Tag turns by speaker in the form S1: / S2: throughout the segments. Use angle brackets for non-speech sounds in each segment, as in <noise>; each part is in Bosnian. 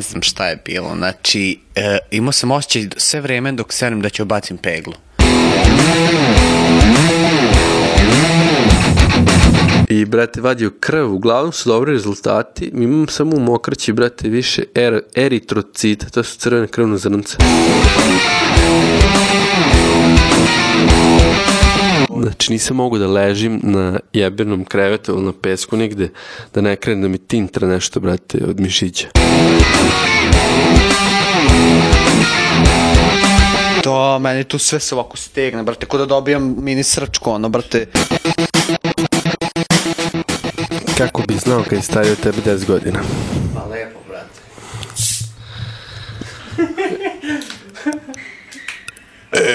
S1: znam šta je bilo. Znači, e, imao sam osjećaj sve vrijeme dok serim da ću obacim peglu.
S2: I, brate, vadio krv, uglavnom su dobri rezultati. Mi imamo samo u mokraći, brate, više er, eritrocita, to su crvene krvne zrnce. Znači, nisam mogu da ležim na jebernom krevetu ili na pesku nigde, da ne krenem da mi tintra nešto, brate, od mišića.
S1: To, meni tu sve se ovako stegne, brate, ko da dobijam mini srčko, ono, brate.
S2: Kako bi znao kad je stario tebe 10 godina?
S1: Pa lepo, brate.
S2: E,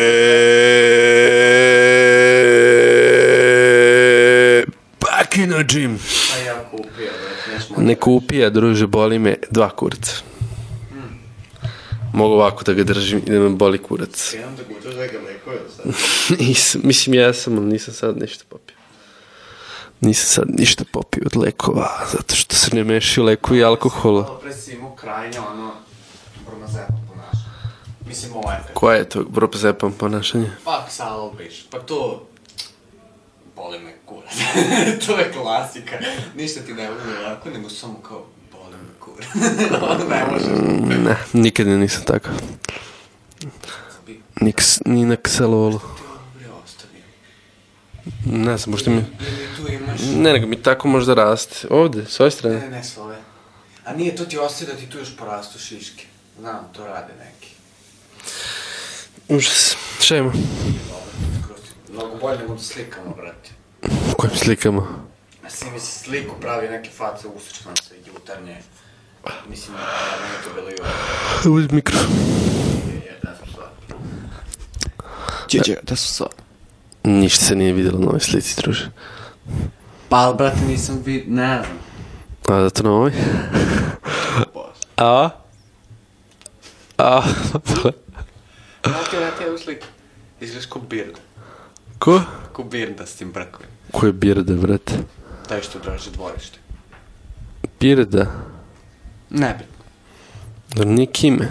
S2: Back in the gym.
S1: A Pa ja kupio, brate, nešto.
S2: Ne kupi, a druže, boli me dva kurca. Mogu ovako da ga držim i da me boli kurac. <laughs>
S1: Imam da gutaš da ga lekuje sad.
S2: Nisam, mislim, ja sam, ali nisam sad ništa popio. Nisam sad ništa popio od lekova, zato što se ne mešaju lekovi i alkohola.
S1: pre si imao krajnje, ono, brmazepo ponašanje. Mislim, ovaj, ovo je
S2: Koje je to brobzepam ponašanje?
S1: Pa, salbiš, pa to... Boli me kurac. <laughs> to je klasika. Ništa ti ne bude lako, nego samo kao, boli me kurac. <laughs> ono ne možeš.
S2: Ne, nikad ne nisam takav. Niks, ni na ksalolu.
S1: Dobro, ostavim.
S2: Ne znam, možda mi...
S1: Ili tu imaš...
S2: Ne, nego mi tako možda raste. Ovde, s ove strane.
S1: Ne, ne, s ove. A nije, to ti ostaje da ti tu još porastu šiške. Znam, to rade neki.
S2: Užas. Šta ima?
S1: Kroz ti- Mnogo bolje nego da slikamo, brate.
S2: U kojim slikama?
S1: Mislim, mi se sliku pravi neke face, usrećno se jutarnje. Mislim, da meni to bilo i ovo.
S2: Uzmi mikrofon.
S1: Čeče, da su sva.
S2: Ništa se nije vidjelo na ovoj slici, druže.
S1: Pa, ali, brate, nisam vid... Ne znam.
S2: A zato na ovoj? A? A?
S1: Znate, brate, ja u sliku. Izgledaš ko birda.
S2: Ko?
S1: Ko birda s tim brkovim.
S2: Ko je Birda, brate?
S1: Taj što draži dvorište.
S2: Birda?
S1: Ne bi.
S2: Da nije kime.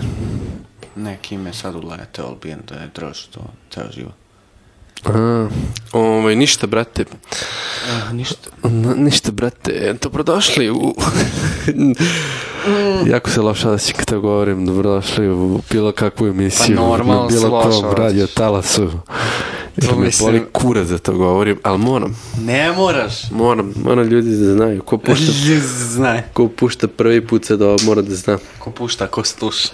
S1: Neki ime sad ulete, ali birda je draži to, ceo život.
S2: A, ovaj, ništa, brate.
S1: Uh, ništa.
S2: N- ništa, brate. Dobrodošli u...
S1: Mm.
S2: jako se loša da si kada govorim. Dobrodošli u bilo kakvu emisiju.
S1: Pa normalno
S2: na
S1: se
S2: bilo
S1: loše
S2: kom
S1: osjećaš.
S2: radio talasu. To me
S1: mislim-
S2: boli kurac da to govorim, ali moram.
S1: Ne moraš.
S2: Moram, moram ljudi da znaju. Ko pušta,
S1: Znaj.
S2: ko pušta prvi put sad ovo mora da zna.
S1: Ko pušta, ko sluša.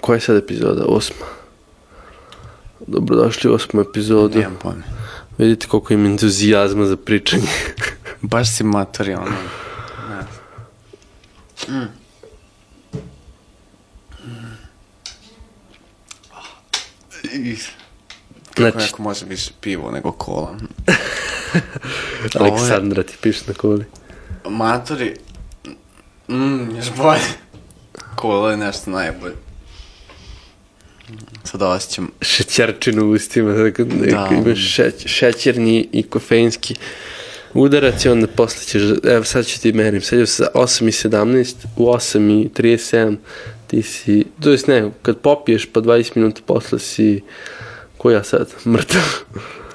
S2: Koja je sad epizoda? Osma. Dobrodošli u osmu epizodu.
S1: Nijem pojma.
S2: Vidite koliko im entuzijazma za
S1: <laughs>
S2: pričanje.
S1: Baš si matori, ono. Ne. Mm. I, kako
S2: Znači,
S1: neko može više pivo nego kola. ovo je-
S2: Aleksandra ti piše na koli.
S1: Matori, mm, još bolje. Kola je nešto najbolje. Sad osjećam,
S2: Šećerčinu u ustima. Tako, da.
S1: Da.
S2: Imaš šeć, šećerni i kofeinski udarac i onda posle ćeš, evo sad ću ti merim, sad je sa 8.17, u 8.37 ti si, to jest ne, kad popiješ pa 20 minuta posle si, ko ja sad, mrtav.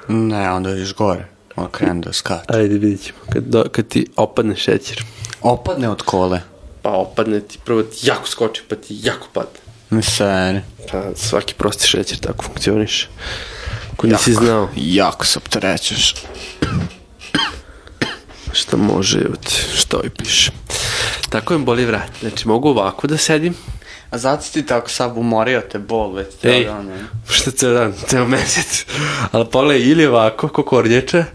S1: ne, onda još gore. Ono krenu da skače.
S2: Ajde, vidit ćemo. Kad, do, kad ti opadne šećer.
S1: Opadne od kole.
S2: Pa opadne ti, prvo ti jako skoči, pa ti jako padne.
S1: Ne seri.
S2: Pa svaki prosti šećer tako funkcioniše. Ko nisi znao
S1: Jako se opterećeš.
S2: šta može, evo ti, šta ovaj piše. Tako im boli vrat. Znači, mogu ovako da sedim.
S1: A zato si ti tako sad umorio te ono, bol već
S2: Ej, šta ceo dan, ceo mesec. Ali pole ili ovako, ko kornječa,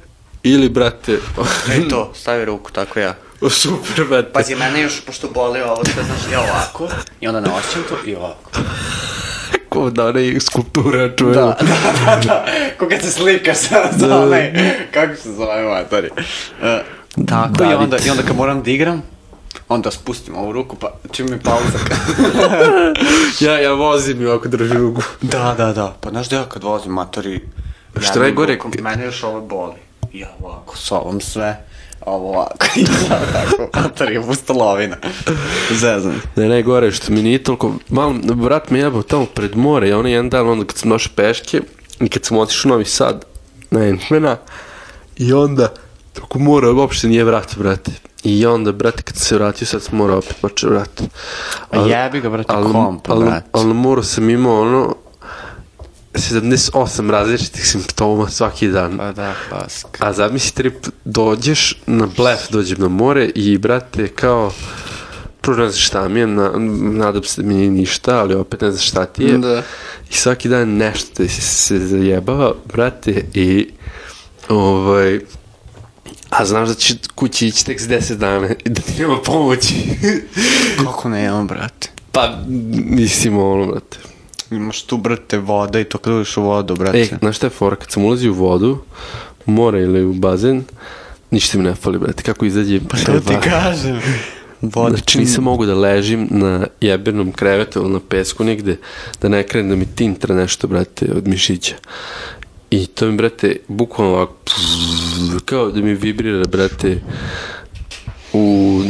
S2: ili, brate, <laughs>
S1: Ej to, stavi ruku tako ja.
S2: o, super, brate.
S1: Pazi, mene još, pošto boli ovo, sve znaš, ja ovako, i onda ne osjećam to, i <laughs> ovako.
S2: Ko da onaj skulptura čuje.
S1: Da, da, da, da, ko kad se slikaš <laughs> sa, sa onaj, kako se zove matori. Uh, tako, i
S2: David.
S1: onda, i onda kad moram da igram, onda spustim ovu ruku, pa čim mi pauza.
S2: Ja, ja vozim i ovako držim ruku.
S1: da, da, da, pa znaš da ja kad vozim matori,
S2: Što najgore,
S1: rukom, mene još ovo boli. Ja ovako, s ovom sve, a ovo <laughs> ovako, i sad tako, otarije pustolovina. Zezam.
S2: Ne, najgore je što mi nije toliko, malo, vrat me jebao tamo pred more, ja onaj jedan dan onda kad sam došao peške i kad sam otišao u Novi Sad na Entmena i onda toko mora uopšte nije vrat, brate. I onda, brate, kad sam se vratio, sad sam morao opet počeo vrat.
S1: A jebi ga, brate, komp,
S2: ali,
S1: brate.
S2: ali morao sam imao ono, 78 različitih simptoma svaki dan.
S1: Pa da, paska.
S2: A zamisli trip, dođeš na blef, dođem na more i brate kao prvo ne znam šta mi je, na, nadam se da mi nije ništa, ali opet ne znam šta ti je.
S1: Da.
S2: I svaki dan nešto te se, se zajebava, brate, i ovaj, a znaš da će kući ići tek s 10 dana i da ti nema pomoći. <laughs>
S1: Kako ne imam, brate.
S2: pa nisi ono, brate.
S1: Imaš tu, brate, voda i to kad uđeš u vodu, brate.
S2: E, znaš šta je fora, kad sam ulazio u vodu, u more ili u bazen, ništa mi ne fali, brate, kako izađe pa
S1: to ti kažem. Voda
S2: Znači nisam mogu da ležim na jebernom krevetu ili na pesku negde, da ne krenem da mi tintra nešto, brate, od mišića. I to mi, brate, bukvalno ovako, pzzz, kao da mi vibrira, brate, u,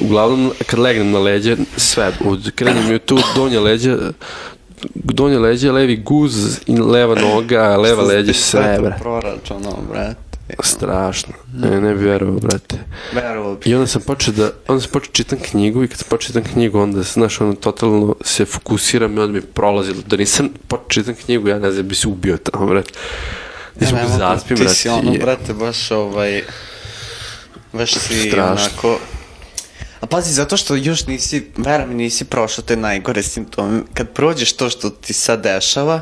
S2: uglavnom, kad legnem na leđa, sve, od, krenem mi od tu donja leđa, donje leđe, levi guz, i leva noga, leva leđa, sve,
S1: brate.
S2: brate.
S1: Proračano, brate.
S2: Strašno. Ne, ne bi verovao, brate.
S1: Verovo bi.
S2: I onda sam počeo da, onda sam počeo čitam knjigu i kad sam počeo čitam knjigu onda, znaš, ono, totalno se fokusiram i onda mi je prolazilo. Da nisam počeo čitam knjigu, ja ne znam, bi se ubio tamo, brat. Ja sam
S1: Nemoj,
S2: zaspim,
S1: Ti
S2: brat.
S1: si ono,
S2: je-
S1: brate, baš ovaj... Baš si
S2: Strašno.
S1: onako... A pazi, zato što još nisi, verujem, nisi prošao te najgore simptome. Kad prođeš to što ti sad dešava,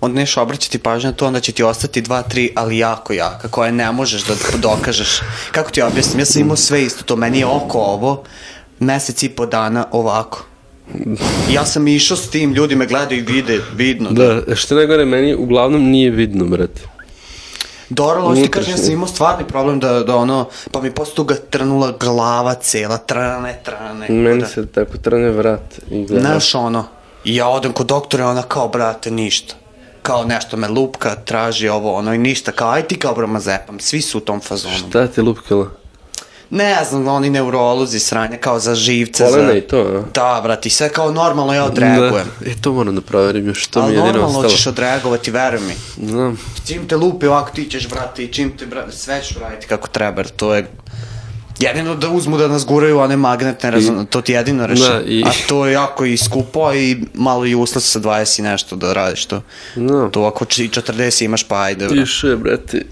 S1: onda neš obraćati pažnju na to, onda će ti ostati dva, tri, ali jako jaka, koje ne možeš da dokažeš. Kako ti objasnim, ja sam imao sve isto to, meni je oko ovo, mesec i po dana ovako. Ja sam išao s tim, ljudi me gledaju i vide, vidno.
S2: Da, što je najgore, meni uglavnom nije vidno, brat.
S1: Doralo, hoću ti
S2: Unutrašnji.
S1: kažem, ja sam imao stvarni problem da, da ono, pa mi posle toga trnula glava cela, trane, trane.
S2: Meni
S1: da.
S2: se tako trne vrat i gleda.
S1: Znaš ono, i ja odem kod doktora, ona kao, brate, ništa. Kao nešto me lupka, traži ovo, ono i ništa, kao, aj ti kao broma zepam, svi su u tom fazonu.
S2: Šta te lupkala?
S1: Ne znam, oni neurolozi sranje, kao za živce,
S2: Kolena
S1: za...
S2: i to, a?
S1: Da, brate, i sve kao normalno ja odreagujem.
S2: Da, e, to moram da proverim još, to mi
S1: Ali
S2: je jedino
S1: normalno
S2: ostalo.
S1: ćeš odreagovati, veruj mi.
S2: Znam.
S1: Čim te lupe ovako ti ćeš brate i čim te brate sve ću raditi kako treba jer to je jedino da uzmu da nas guraju one magnetne rezonance, to ti je jedino rešenje.
S2: Da, i-
S1: A to je jako i skupo i malo i usled sa 20 i nešto da radiš to.
S2: Da.
S1: To ako či- 40 imaš pa ajde. bra.
S2: Piše, brate,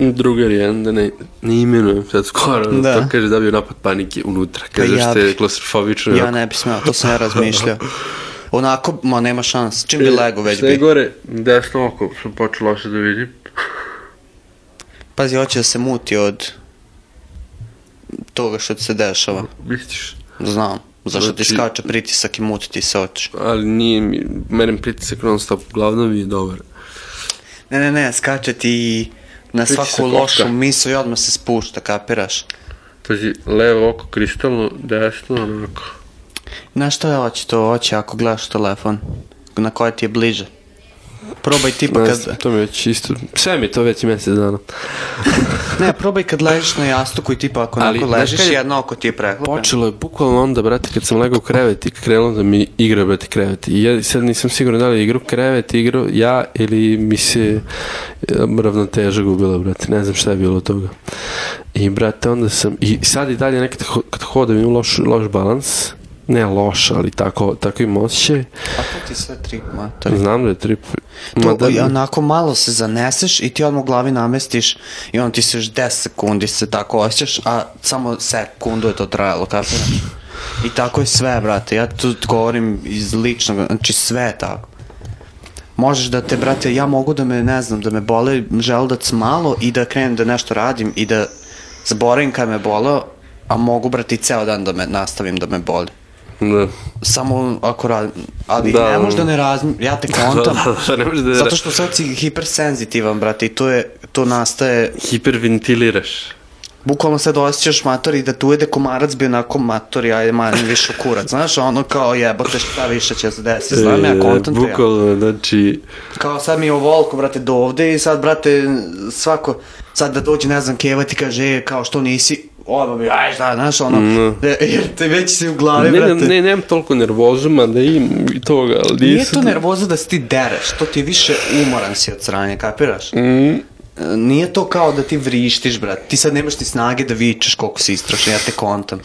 S2: drugar jedan, da ne, ne imenujem sad skoro,
S1: Da. Pa
S2: da. to kaže da bio napad panike unutra, kaže
S1: ja
S2: što
S1: bi-
S2: je klaustrofobično.
S1: Ja ne bi smeo, to
S2: <laughs>
S1: sam ja razmišljao. Onako, ma nema šans. Čim
S2: E,
S1: bi lego već
S2: Šta je
S1: bi.
S2: gore, desno oko sam počeo loše da vidim.
S1: Pazi, hoće da se muti od toga što ti se dešava.
S2: Misliš?
S1: Znam. Zašto ti
S2: Znači-
S1: skače pritisak i muti ti se oči.
S2: Ali nije mi, mene pritisak non stop, uglavnom mi je dobar.
S1: Ne, ne, ne, skače ti na
S2: Pritisak
S1: svaku
S2: oka.
S1: lošu misu i odmah se spušta, kapiraš.
S2: Pazi, levo oko kristalno, desno onako.
S1: Znaš što je oči to oči ako gledaš telefon? Na koje ti je bliže? Probaj ti pa
S2: Ne
S1: kad...
S2: znam, to mi je već isto, sve mi je to već mjesec dana.
S1: Ne, probaj kad ležiš na jastuku i tipa ako
S2: Ali,
S1: onako
S2: znaš
S1: ležiš
S2: kad je-
S1: jedno oko ti je preklopeno.
S2: Počelo je bukvalno onda, brate, kad sam legao u krevet i krenulo da mi igra, brate, krevet. I ja sad nisam siguran da li je igrao krevet, igrao ja ili mi se e, ravnoteža gubila, brate. Ne znam šta je bilo od toga. I, brate, onda sam... I sad i dalje nekad ho- kad hodam imam loš, loš balans. Ne loš, ali tako, tako im osjećaj.
S1: A Pa to ti sve trip, mater.
S2: Znam da je trip...
S1: To,
S2: Ma da,
S1: i onako malo se zaneseš i ti odmah u glavi namestiš i on ti se još 10 sekundi se tako osjećaš, a samo sekundu je to trajalo, kapiraš? I tako je sve, brate, ja tu govorim iz ličnog, znači sve je tako. Možeš da te, brate, ja mogu da me, ne znam, da me bole želudac malo i da krenem da nešto radim i da zaboravim kad me boleo, a mogu, brate, i ceo dan da me nastavim da me boli
S2: da.
S1: samo ako radim, ali
S2: Da,
S1: ne
S2: da.
S1: možeš da ne razmi, ja
S2: <laughs>
S1: te kontam,
S2: Da, da, da, ne možeš da ne
S1: zato
S2: ra-
S1: što sad si hipersenzitivan, brate, i to je, to nastaje,
S2: Hiperventiliraš.
S1: bukvalno sad osjećaš mator i da tu jede komarac bi onako mator, ja je manj više kurac, znaš, ono kao jebote šta više će se desiti, znam ja,
S2: E,
S1: kontam te ja.
S2: Bukvalno, znači...
S1: Kao sad mi je ovoliko, brate, do ovde i sad, brate, svako, sad da dođe, ne znam, Keva ti kaže, e, kao što nisi odmah bi, aj šta, znaš, ono,
S2: Mm.
S1: e, jer te već si u glavi,
S2: Ne, ne,
S1: brate.
S2: ne, nemam toliko nervozu, mada im i toga, ali
S1: Nije
S2: nisu-
S1: to nervoza da si ti dereš, to ti je više umoran si od sranja, kapiraš? Mm. Nije to kao da ti vrištiš, brat. Ti sad nemaš ti snage da vičeš koliko si istrošen, ja te kontam.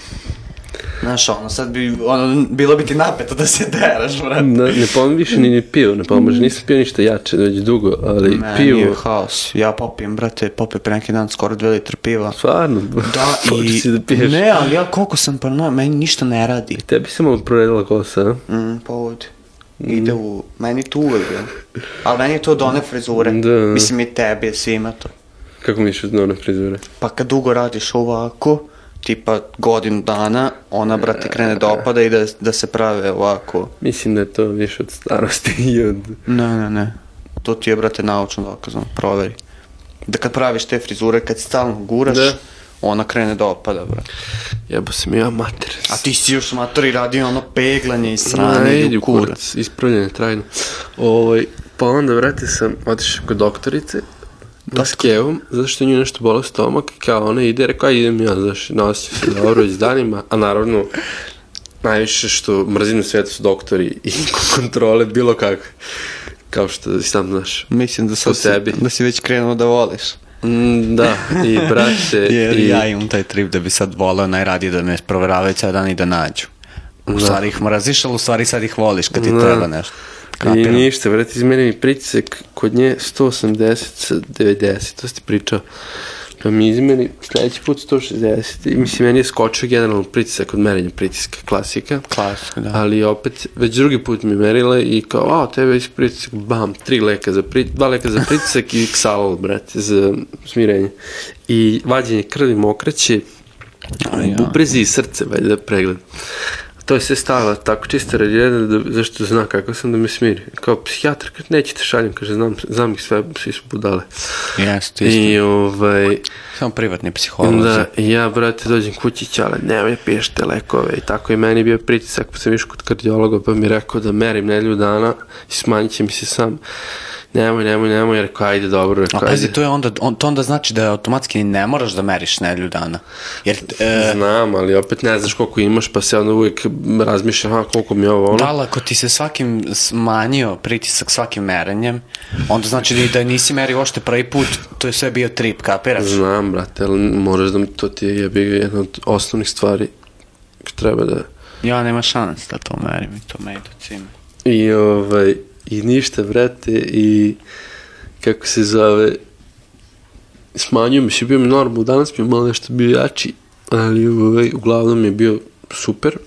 S1: Znaš, ono, sad bi, ono, bilo bi ti napeto da se deraš, brat.
S2: Da, ne pomim više ni, ni pivo, ne pomaže, nisam pio ništa jače, već dugo, ali
S1: Ne,
S2: pivo,
S1: Mm. nije haos. Ja popijem, brate, popio pre neki dan skoro dve litre piva.
S2: stvarno, <laughs>
S1: Da,
S2: počeo
S1: i...
S2: si da piješ.
S1: Ne, ali ja koliko sam paranoja, meni ništa ne radi.
S2: Tebi se malo proredila kosa, a?
S1: Mm, pa ovdje.
S2: Mm.
S1: Ide u... Meni tu uvek, ja. Ali meni je to od one frizure.
S2: Da.
S1: Mislim i tebi, svima to.
S2: Kako mi išli odnovne frizure?
S1: Pa kad dugo radiš ovako, tipa godinu dana, ona, brate, krene da opada i da, da se prave ovako.
S2: Mislim da je to više od starosti <laughs> i od...
S1: Ne, ne, ne. To ti je, brate, naučno dokazano, proveri. Da kad praviš te frizure, kad stalno guraš,
S2: Da.
S1: ona krene da opada, brate.
S2: Jebo se mi ja mater.
S1: A ti si još matori radio ono peglanje i
S2: Ma,
S1: sranje
S2: idi
S1: i
S2: u
S1: kurac.
S2: kurac, Ispravljeno je trajno. Ovaj, pa onda, vrati, sam otišao kod doktorice, da s kevom, zato što nju nešto bolo stomak, i kao ona ide, rekao, aj idem ja, znaš, naosjećam se dobro već danima, a naravno, najviše što mrzim na svijetu su doktori i <laughs> kontrole bilo kakve, kao što i sam znaš.
S1: Mislim da, sad
S2: Po
S1: si,
S2: tebi.
S1: da si već krenuo da voliš.
S2: Mm, da, i braće,
S1: <laughs> Jer
S2: E, i...
S1: ja imam taj trip da bi sad voleo najradije da ne proveravaju cijel dan i da nađu. U stvari ih mraziš, ali u stvari sad ih voliš kad ti
S2: Da.
S1: treba nešto.
S2: I
S1: Kapiram.
S2: ništa, vrat, izmeri mi pritisak, kod nje 180 sa 90, to si ti pričao. Pa mi izmeri sljedeći put 160 i mislim, meni je skočio generalno pritisak od merenja pritiska, klasika.
S1: Klasika, da.
S2: Ali opet, već drugi put mi merila i kao, a, tebe je pritisak, bam, tri leka za pritisak, dva leka za pritisak i ksalol, brate, za smirenje. I vađenje krvi mokraće,
S1: Aj, ja.
S2: bubrezi i srce, valjda pregled. To je sve stala tako čista radi jedan, da, zašto zna kako sam da me smiri. Kao psihijatar, kaže, nećete šaljem, kaže, znam, znam ih sve, svi su budale.
S1: Jeste, isto.
S2: I ovaj,
S1: Samo privatni psiholozi.
S2: onda ja, brate, dođem kući, ćale, nemoj piješ te lekove i tako i meni bio pritisak, pa sam išao kod kardiologa, pa mi je rekao da merim nedelju dana i smanjit će mi se sam. Nemoj, nemoj, nemoj, rekao, ajde, dobro, rekao,
S1: A
S2: ajde.
S1: pazi, to, je onda, on, to onda znači da automatski ni ne moraš da meriš nedelju dana. Jer e,
S2: Znam, ali opet ne znaš koliko imaš, pa se onda uvijek razmišljam, a koliko mi je ovo ono.
S1: dala ako ti se svakim smanjio pritisak svakim merenjem, onda znači da i da nisi merio ošte prvi put, to je sve bio trip, kapiraš?
S2: Znam, brate, ali moraš da mi to ti je jebi ga, jedna od osnovnih stvari koje treba da...
S1: Ja nema šans da to merim i to me idu cime.
S2: I, ovaj, i ništa, brate, i kako se zove, smanjio mi se, bio mi normal, danas mi je malo nešto bio jači, ali ovaj, uglavnom je bio super.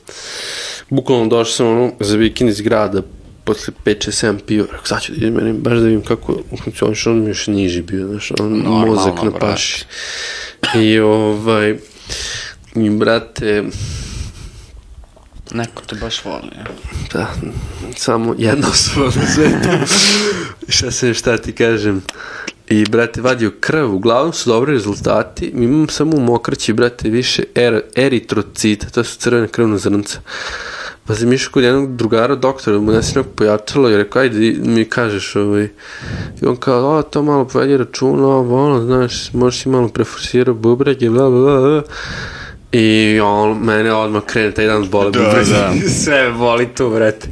S2: Bukvalno došao sam ono, za vikend iz grada, posle 5-6-7 pio, rekao, sad ću da idem, merim, baš da vidim kako funkcioniš, on mi je još niži bio, znaš, on
S1: Normalno,
S2: mozak na
S1: brate.
S2: paši. I ovaj, i brate,
S1: Neko te baš voli. ja.
S2: Da, samo jedna osoba na
S1: <laughs>
S2: svetu. šta se, šta ti kažem. I, brate, vadio krv, uglavnom su dobri rezultati. Mi imam samo u mokraći, brate, više er, eritrocita, to su crvene krvne zrnca. Pa sam išao kod jednog drugara doktora, mu nesi nekog pojačalo i rekao, ajde i- mi kažeš, ovaj. I on kao, a, to malo povedi računa, ovo, ono, znaš, možeš si malo preforsirao bubrege, bla, bla, bla, bla. I on, mene odmah krene taj dan boli
S1: Da,
S2: bubrege.
S1: da.
S2: <laughs> Sve boli tu, brate.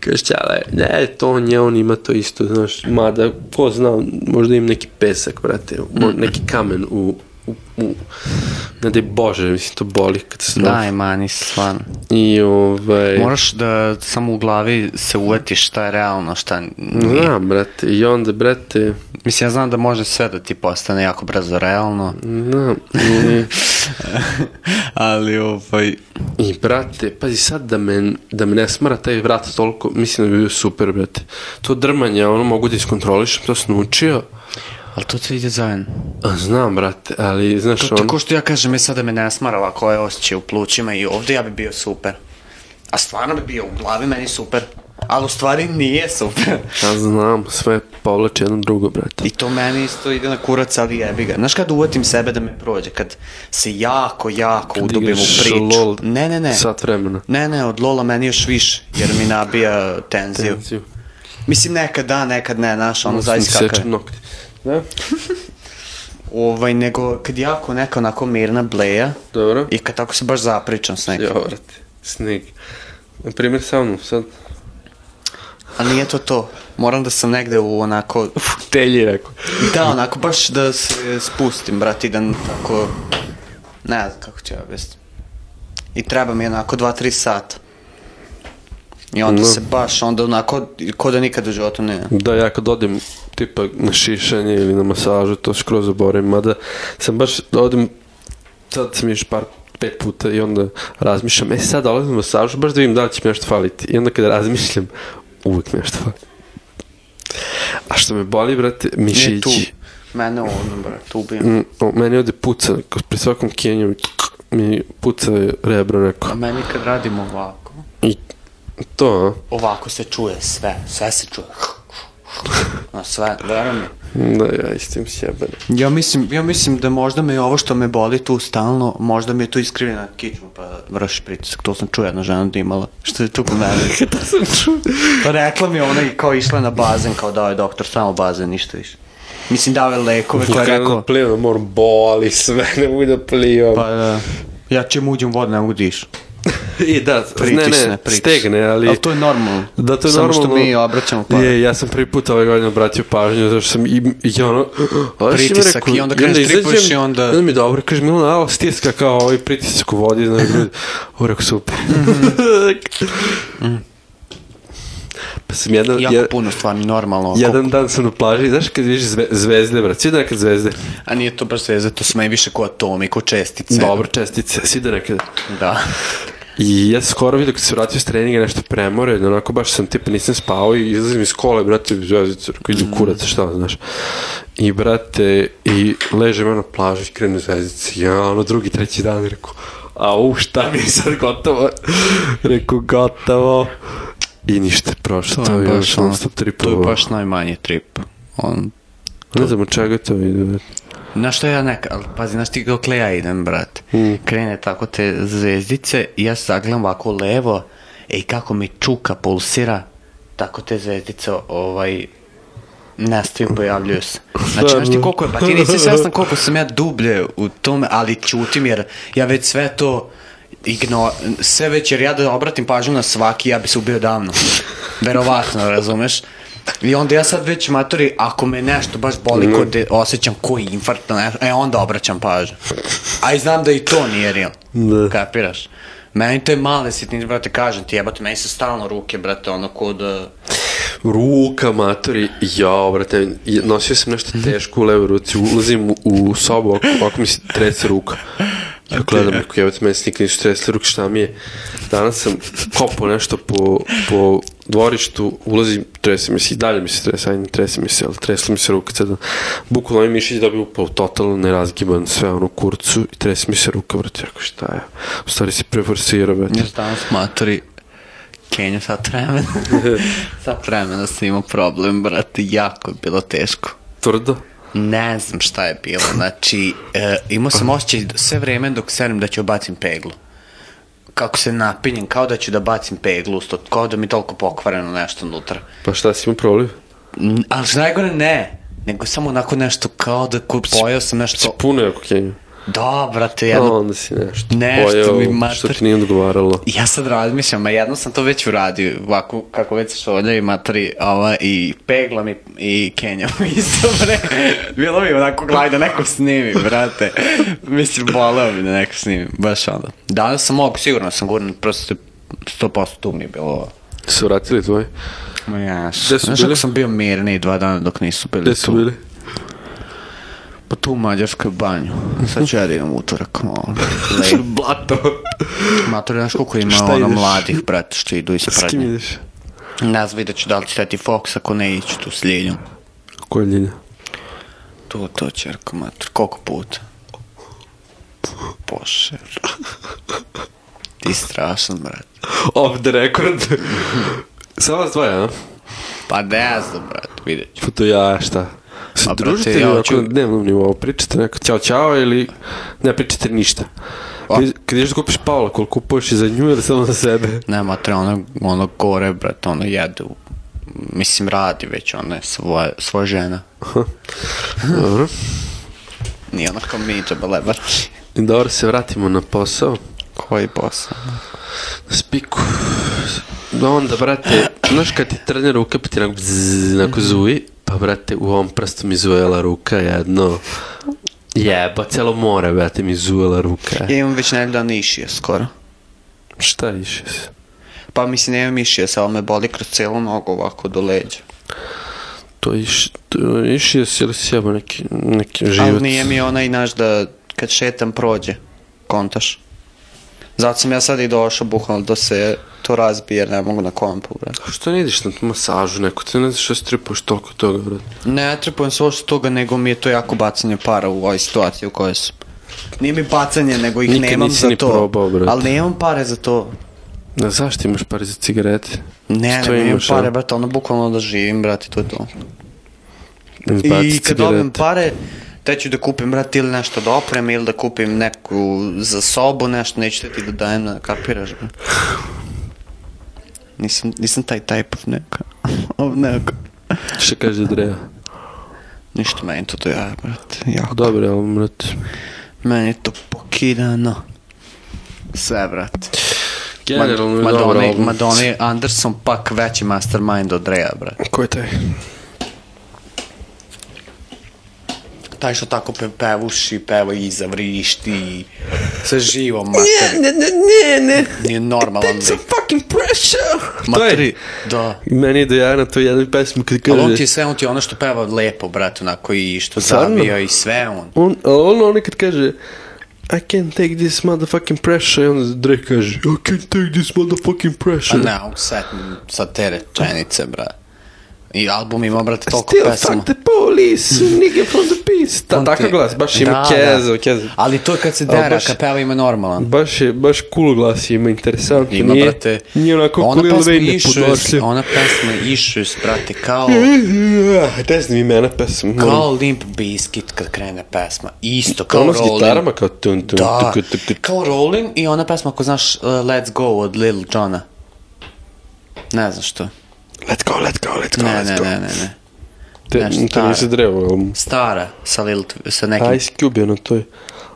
S2: Kaže, čale, ne, to nje, on ima to isto, znaš, mada, ko zna, možda im neki pesak, brate, mo,
S1: Mm.
S2: neki kamen u, u, u ne daj Bože, mislim, to boli katastrofa.
S1: Daj, mani, stvarno.
S2: I, ovaj...
S1: Moraš da samo u glavi se uvetiš šta je realno, šta nije.
S2: Znam, brate, i onda, brate,
S1: Mislim, ja znam da može sve da ti postane jako brzo realno,
S2: znam, i,
S1: <laughs> ali ovaj...
S2: i, brate, pazi sad da me, da me ne smara taj vrat toliko, mislim da bi bio super, brate. To drmanje, ono, mogu da iskontrolišem, to sam naučio,
S1: Ali to sve ide zajedno.
S2: A, znam, brate, ali, znaš,
S1: To
S2: ono...
S1: tako što ja kažem, je sad da me ne smara ovako je osjećaj u plućima i ovdje ja bi bio super. A stvarno bi bio u glavi meni super. Ali u stvari nije super.
S2: Ja znam, sve povlači jedno drugo, brate.
S1: I to meni isto ide na kurac, ali jebi ga. Znaš kad uvatim sebe da me prođe? Kad se jako, jako udubim u
S2: igraš
S1: priču.
S2: LOL
S1: Ne, ne, ne.
S2: Sat vremena.
S1: Ne, ne, od Lola meni još više, jer mi nabija tenziju. Mislim, nekad da, nekad ne, znaš, ono, zaista
S2: Mislim,
S1: kakav je.
S2: Sečem nokte. Da?
S1: ovaj, nego kad jako neka onako mirna bleja
S2: Dobro.
S1: i kad tako se baš zapričam s nekim.
S2: Jo, vrati. Sneg. Na primjer sa mnom sad.
S1: A nije to to. Moram da sam negde u onako...
S2: Telji rekao.
S1: Da, onako, baš da se spustim, brat, i da n- tako... Ne znam kako ću ja objasniti. I treba mi onako 2-3 sata. I onda
S2: Da.
S1: se baš, onda onako, ko da nikad u životu ne...
S2: Da, ja kad odem tipa na šišanje ili na masažu, to skroz zaboravim, mada sam baš da odem, sad sam još par pet puta i onda razmišljam, e sad dolazim na masažu, baš da vidim da li će mi nešto faliti. I onda kada razmišljam, uvijek nešto fali. A što me boli, brate,
S1: Nije tu.
S2: mišići.
S1: Mene ono, ovdje, brat, ubijem.
S2: Mm, o, meni ovdje puca, kao pri svakom kenju mi puca rebro neko.
S1: A meni kad radimo ovako,
S2: I to, a?
S1: ovako se čuje sve, sve se čuje. <laughs> No, sve, veruj mi.
S2: da, ja istim sjeben.
S1: Ja mislim, ja mislim da možda me ovo što me boli tu stalno, možda mi je tu iskrivljena kičma, pa vrši pritisak. To sam čuo jedna žena da imala, što je tu kod mene.
S2: Da <laughs> sam čuo.
S1: Pa rekla mi je ona i kao išla na bazen, kao dao je doktor, samo bazen, ništa više. Mislim dao je lekove, koja je
S2: Kada
S1: rekao,
S2: da plivam, ono moram boli sve, ne mogu da plivam.
S1: pa da, ja čim uđem u vodu ne mogu dišu.
S2: I da, Pa ne, ne,
S1: Pritisne, pritisne.
S2: stegne, ali...
S1: Ali to je normalno.
S2: Da, to je
S1: Samo
S2: normalno.
S1: što mi obraćamo
S2: Pa.
S1: pare.
S2: Je, ja sam prvi put ovaj godin obratio pažnju, zato što sam i,
S1: <gasps>
S2: i ono... ali što mi
S1: Pritisak i onda kreneš tripuješ
S2: izađem,
S1: i onda-
S2: Onda mi je dobro, kaže Milana, alo, stiska kao ovaj pritisak u vodi, znaš, grudi. Ovo rekao, super. pa sam jedan...
S1: Mhm. Jako
S2: jedan-
S1: puno stvarno, normalno. ako-
S2: Jedan dan sam na plaži, znaš kad vidiš zve, zvezde, brat, svi da nekad zvezde.
S1: A nije to baš sveze, to su meni više ko atomi, ko čestice.
S2: Dobro, čestice, svi da nekad.
S1: Da.
S2: I ja sam skoro vidio kad sam se vratio s treninga nešto premore, da onako baš sam tipa nisam spao i izlazim iz kola, brate, zvezicu, rekao,
S1: Mm.
S2: idu kurac, šta, znaš. I brate, i ležem ja na plaži, i krenu zvezici, ja ono drugi, treći dan, rekao, a u, šta mi je sad gotovo? rekao, gotovo. I ništa, prošlo, to, je još
S1: ono-
S2: on stop
S1: To je
S2: tripovo.
S1: baš najmanji trip. On,
S2: Ne znam od čega to ide, brate.
S1: Znaš što ja neka, ali pazi, znaš ti dokle ja idem, brate. Mm. Krene tako te zvezdice i ja zagledam ovako levo, e i kako mi čuka pulsira, tako te zvezdice ovaj, nastaju, pojavljuju se. Znači, znaš ti koliko je, pa ti nisi svjestan koliko sam ja dublje u tome, ali čutim jer ja već sve to igno, sve već jer ja da obratim pažnju na svaki, ja bi se ubio davno. Verovatno, razumeš? I onda ja sad već matori, ako me nešto baš boli, kod de, osjećam koji infarkt, ne, e onda obraćam pažnju. A i znam da i to nije real.
S2: Da.
S1: Kapiraš? Meni to je male sitnice, brate, kažem ti, jebate, meni se stalno ruke, brate, ono kod... Uh,
S2: Ruka, matori, ja, brate, je- nosio sam nešto teško u levoj ruci, ulazim u, u sobu, ako, ako mi se trese ruka. Ja gledam, rekao, jebate, meni se nikad nisu tresle ruke, šta mi je? Danas sam kopao nešto po, po dvorištu, ulazim, trese mi se, i dalje mi se trese, ajde, ne trese mi se, ali tresla mi se ruka, sada, bukvalno ovaj mišić dobio upao totalno nerazgiban, sve ono, u kurcu, i trese mi se ruka, brate, rekao, šta je? U stvari se preforsirao, brate.
S1: Još danas matori Kenju sat vremena. sat vremena sam imao problem, brate, jako je bilo teško.
S2: Tvrdo?
S1: Ne znam šta je bilo, znači, e, imao sam osjećaj da sve vreme dok sedem da ću bacim peglu. Kako se napinjem, kao da ću da bacim peglu, usto, kao da mi je toliko pokvareno nešto unutra.
S2: Pa šta si imao problem?
S1: N- Ali što najgore ne, nego samo onako nešto kao da ko pojao sam
S2: Si
S1: nešto,
S2: puno je oko Kenju.
S1: da, brate,
S2: A
S1: jedno
S2: onda si nešto
S1: Nešto mi mater-
S2: što ti nije odgovaralo.
S1: Ja sad razmišljam, a jedno sam to već uradio, ovako kako već šolja i matri, ova, i peglam i, i kenjam <laughs> isto, bre. Bilo mi onako gledaj da neko snimi, brate. Mislim, boleo bi da neko snimi, baš onda. Danas sam mogu, sigurno sam gurno, prosto 100% tu mi je bilo ovo.
S2: Su vratili tvoje?
S1: Ma ja,
S2: Gde
S1: su
S2: su
S1: znaš
S2: bili?
S1: kako sam bio mirniji dva dana dok nisu bili
S2: Gde su
S1: tu.
S2: bili?
S1: Pa tu u Mađarskoj banju. Sad ću ja da idem u utorak, ono,
S2: <laughs>
S1: malo. Lej.
S2: Blato.
S1: Matori, znaš koliko ima
S2: Šta
S1: ono
S2: ideš?
S1: mladih, brate, što idu iz
S2: S kim
S1: pradnje.
S2: ideš?
S1: Ne znam, vidjet ću da li će tati Fox, ako ne iću tu s Ljeljom.
S2: Koja je Ljilja?
S1: Tu, to čerko mater, koliko puta? Bože. <laughs> Ti strašan, brat.
S2: Off the <laughs> record. Samo vas dvoje, a?
S1: Pa ne znam, brat, vidjet ću.
S2: Pa to ja, šta? Se
S1: Ma, brate,
S2: družite
S1: ja
S2: li ovako
S1: hoću-
S2: na dnevnom nivou? Pričate neko ćao ćao ili ne pričate ništa?
S1: A.
S2: Kad- Kad ideš da kupiš Paula, koliko kupuješ i za nju ili samo za sebe?
S1: Ne, mater, ono, ono gore, brat, ono jede u... Mislim, radi već, ona je svoja, svoja žena.
S2: Dobro.
S1: najbitnije, ono kao mi džabalebar.
S2: I dobro se vratimo na posao.
S1: Koji posao?
S2: Na spiku. Da onda, brate, znaš kad ti trne ruka pa ti onako bzzz, onako zuji, pa brate u ovom prstu mi zujela ruka jedno. Jeba, celo more, brate, mi zujela ruka.
S1: Ja imam već nedelju dana išije skoro.
S2: Šta više se?
S1: Pa mislim, ne imam išije, samo me boli kroz celu nogu ovako do leđa.
S2: To iš, to išio si ili si jebo neki, neki život.
S1: Ali nije mi onaj naš da kad šetam prođe, kontaš. Zato sam ja sad i došao bukvalno da se to razbije jer ne mogu na kompu, brate.
S2: Što ne ideš na tu masažu neku, ti ne znaš što stripuješ toliko toga, brate.
S1: Ne trepujem se uopšte toga, nego mi je to jako bacanje para u ovoj situaciji u kojoj sam. Nije mi bacanje, nego ih
S2: Nikad
S1: nemam
S2: nisi
S1: za
S2: ni
S1: to.
S2: probao, brate.
S1: Ali nemam pare za to.
S2: Da, zašto imaš pare za cigarete?
S1: Ne,
S2: Što
S1: ne, nemam
S2: imaš,
S1: pare,
S2: a?
S1: brate, ono bukvalno da živim, brate, to je to.
S2: Izbaci
S1: I kad dobijem
S2: cigarete.
S1: pare, te ću da kupim, brate, ili nešto da oprem, ili da kupim neku za sobu, nešto, neću da ti da dajem, na- kapiraš, brate. Nisam, nisam taj type of neka. <laughs> Of neka.
S2: Šta kaže Dreja?
S1: Ništa meni to do jaja, brate, jako.
S2: Pa Dobro, ali brate.
S1: Meni je to pokidano. Sve, brate.
S2: Generalno je
S1: Mad-
S2: dobro.
S1: Madonna,
S2: album.
S1: Madonna i Anderson pak veći mastermind od Rea, brate.
S2: Ko je taj?
S1: Taj što tako pe, pevuši, peva i zavrišti i sve živo, mater.
S2: ne, ne, ne.
S1: Nije normalan lik.
S2: fucking pressure. to je.
S1: Materi, da.
S2: Meni je dojao na to jednu pesmu kad kaže...
S1: Ali on ti je sve, on ti je ono što peva lepo, brate, onako i što
S2: Stvarno?
S1: zabija i sve on.
S2: On, a on, on kad kaže I can't take this motherfucking pressure i onda Drake kaže I can't take this motherfucking
S1: A
S2: pressure
S1: ne, on sad, sad te rečenice, brate. I album ima, brate, toliko
S2: Still
S1: pesama.
S2: fuck the police
S1: <laughs>
S2: nigga from the peace Ta,
S1: On
S2: takav
S1: ti-
S2: glas, baš ima
S1: Da,
S2: keza,
S1: da.
S2: keza
S1: Ali to je kad se
S2: Ali
S1: dera,
S2: baš-
S1: kad peva ima normalan.
S2: Baš je, baš cool glas ima, interesantno
S1: Ima,
S2: nije,
S1: brate.
S2: Nije onako
S1: ona
S2: cool Lil
S1: pesma
S2: Wayne
S1: Issues,
S2: podnošljiv
S1: ona pesma Issues, brate, kao,
S2: Ne znam imena pesma
S1: kao Limp Bizkit kad krene pesma. Isto, kao
S2: Ono s
S1: Rolling.
S2: gitarama kao tun tun
S1: Da,
S2: tuk, tuk, tuk.
S1: kao Rolling i ona pesma ako znaš uh, Let's Go od Lil Johna. Ne znam što.
S2: Let's go, let's go, let's go,
S1: Ne,
S2: let's
S1: ne,
S2: go
S1: ne, ne, ne. nešto
S2: Te, to
S1: staro.
S2: nisi drevo
S1: Stara sa, Lil, sa nekim...
S2: Ice Cube je na toj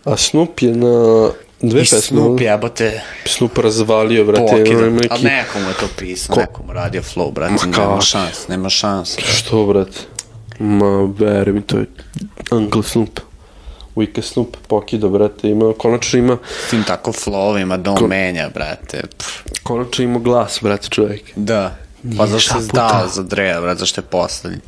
S2: A Snoop je na dve
S1: I
S2: pesme
S1: Snoop jebote
S2: Snoop razvalio, brate,
S1: pokida.
S2: ono
S1: Ali
S2: ima neki...
S1: nekomu je to pisao,
S2: Ko-
S1: nekomu radio flow, brate. Nema
S2: kak?
S1: šans, nema šans.
S2: Što, brate? Ma, veri mi, to je Uncle Snoop. Wicca Snoop pokido, brate, ima, konačno ima,
S1: S tim tako flowima, da on menja, brate. Pff.
S2: konačno ima glas, brate, čovjek.
S1: Da. Pa
S2: Nije
S1: zašto se
S2: šaputa.
S1: dao za Dre, brate, zašto je poslednji?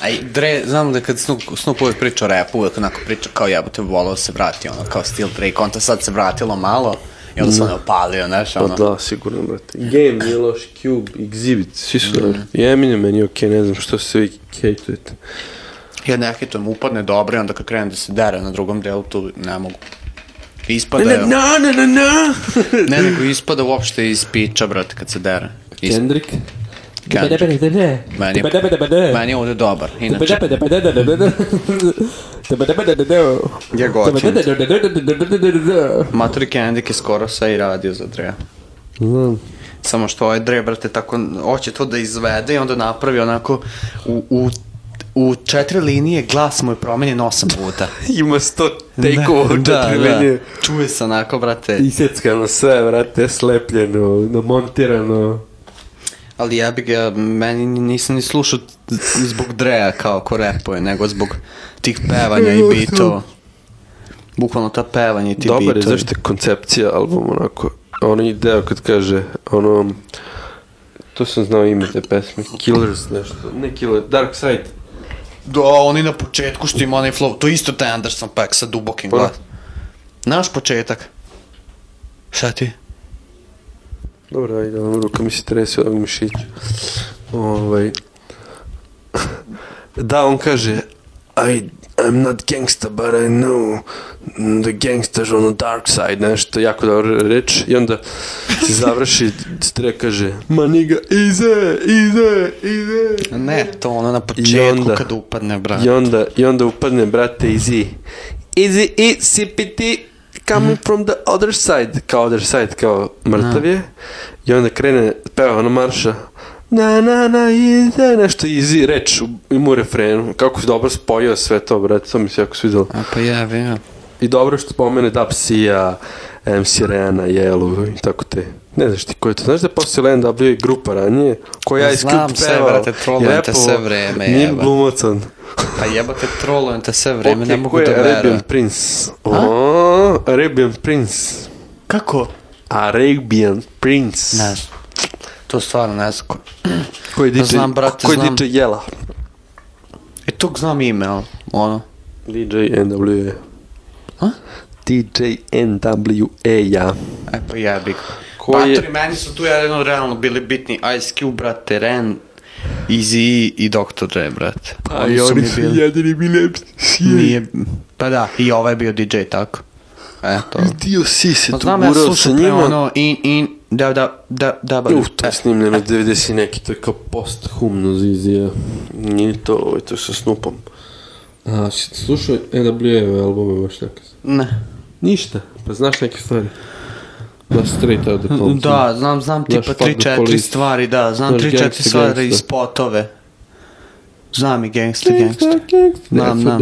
S1: A i Dre, znam da kad Snoop, Snoop uvijek priča o rapu, uvijek onako priča kao jebote, volao se vrati, ono, kao stil Drake, onda sad se vratilo malo i onda se ono opalio, znaš,
S2: Pa
S1: ono.
S2: da, sigurno, brate. Game nije loš, Cube, Exhibit, svi su dobri. I Eminem meni je okej, ne znam što se vi hejtujete.
S1: Ja ne hitam, upadne dobro i onda kad krenem da se dere na drugom delu, tu ne mogu. Ispada,
S2: Ne, na, na, na, na!
S1: ne, nego ispada uopšte iz piča, brate, kad se dere. Is,
S2: <laughs> Kendrick?
S1: Kendrick. Meni, je-
S3: Mani.
S1: meni je ovdje dobar, inače. Ja ga otim. Matori Kendrick je skoro sve i radio za Dre.
S2: Znam.
S1: Samo što ovaj Dre, brate, tako, hoće to da izvede i onda napravi onako u, u, u četiri linije glas mu je promenjen osam
S2: <laughs>
S1: puta.
S2: Ima sto take-ova u četiri linije.
S1: Čuje se onako, brate.
S2: Isjeckano sve, brate, slepljeno, namontirano.
S1: Ali ja bi ga, meni nisam ni slušao zbog Dreja kao ko repuje, nego zbog tih pevanja
S2: <laughs>
S1: i bitova. Bukvalno ta pevanja i ti bitovi.
S2: Dobar je, zašto je koncepcija album onako, Ono onaj deo kad kaže, ono, to sam znao ime te pesme, Killers nešto, ne Killers, Dark Side,
S1: Da, oni na početku što ima onaj flow, to je isto taj Anderson Paak sa dubokim
S2: Pa.
S1: glas. Naš početak. Šta ti?
S2: dobro, ajde, ono, ruka mi se trese ovog mišića, ovaj, da, on kaže, I, I'm not gangsta, but I know the gangsters on the dark side, nešto jako dobra reč, i onda se završi, <laughs> stre kaže, ma niga, ize, ize, ize.
S1: Ne, to ono na početku
S2: onda-
S1: kad upadne, brate.
S2: I onda, I onda upadne, brate, Easy. Easy i CPT
S1: Mhm.
S2: coming from the other side. Kao other side, kao mrtav je. I onda krene, peva ona ono marša. na na na ide nešto easy reč u- ima u refrenu kako je dobro spojio sve to brate to mi se jako svidjelo
S1: A pa ja, ja.
S2: i dobro što spomene da psija MC Rena, Jelu i tako te ne znaš ti ko je to znaš da je poslije Land W i grupa ranije koja
S1: Ma
S2: je
S1: znam
S2: Scoop
S1: sve,
S2: pevao
S1: brate, trolujem te
S2: repovao,
S1: sve vreme,
S2: nije
S1: jeba.
S2: glumacan
S1: Pa jebate, trolujem te sve vreme,
S2: Ok,
S1: ne
S2: ko
S1: mogu
S2: je
S1: da verujem.
S2: е Arabian Prince O, Arabian Prince
S1: Kako?
S2: Arabian Prince
S1: Ne znam. To stvarno ne znam. ko-
S2: koji DJ,
S1: znam, brate,
S2: koji
S1: znam.
S2: DJ Jela
S1: E, tog znam ime, ali, ono.
S2: DJ NWA
S1: A?
S2: DJ NWA ja
S1: E, pa jebi ga.
S2: Ko
S1: Koji...
S2: je-
S1: Batori meni su tu jedino realno bili bitni Ice Cube, brate, Ren, Easy i Dr. Dre, brate.
S2: a i
S1: е
S2: oni su jedini bili е.
S1: Nije... Pa da, i ovaj je bio DJ, tako. E, to.
S2: Dio si se
S1: Pa
S2: tu
S1: znam ja
S2: gurao sa
S1: slušam pre
S2: njima.
S1: ono in, in, da, da, da, da, e, ba,
S2: Uf, to je snimljeno 90 neki, to je kao posthumno zizija. Nije to, ovo je to sa Snupom. A, si slušao NWA-eve albume baš nekad?
S1: Ne.
S2: Ništa, pa znaš neke stvari. Da, straight out the pump. <laughs>
S1: Da, znam, znam tipa
S2: fuck the
S1: 3-4
S2: police.
S1: stvari, da, znam
S2: Znaš,
S1: 3-4
S2: gangsta,
S1: stvari i
S2: gangsta.
S1: spotove. Znam i gangsta, gangsta. Znam, znam.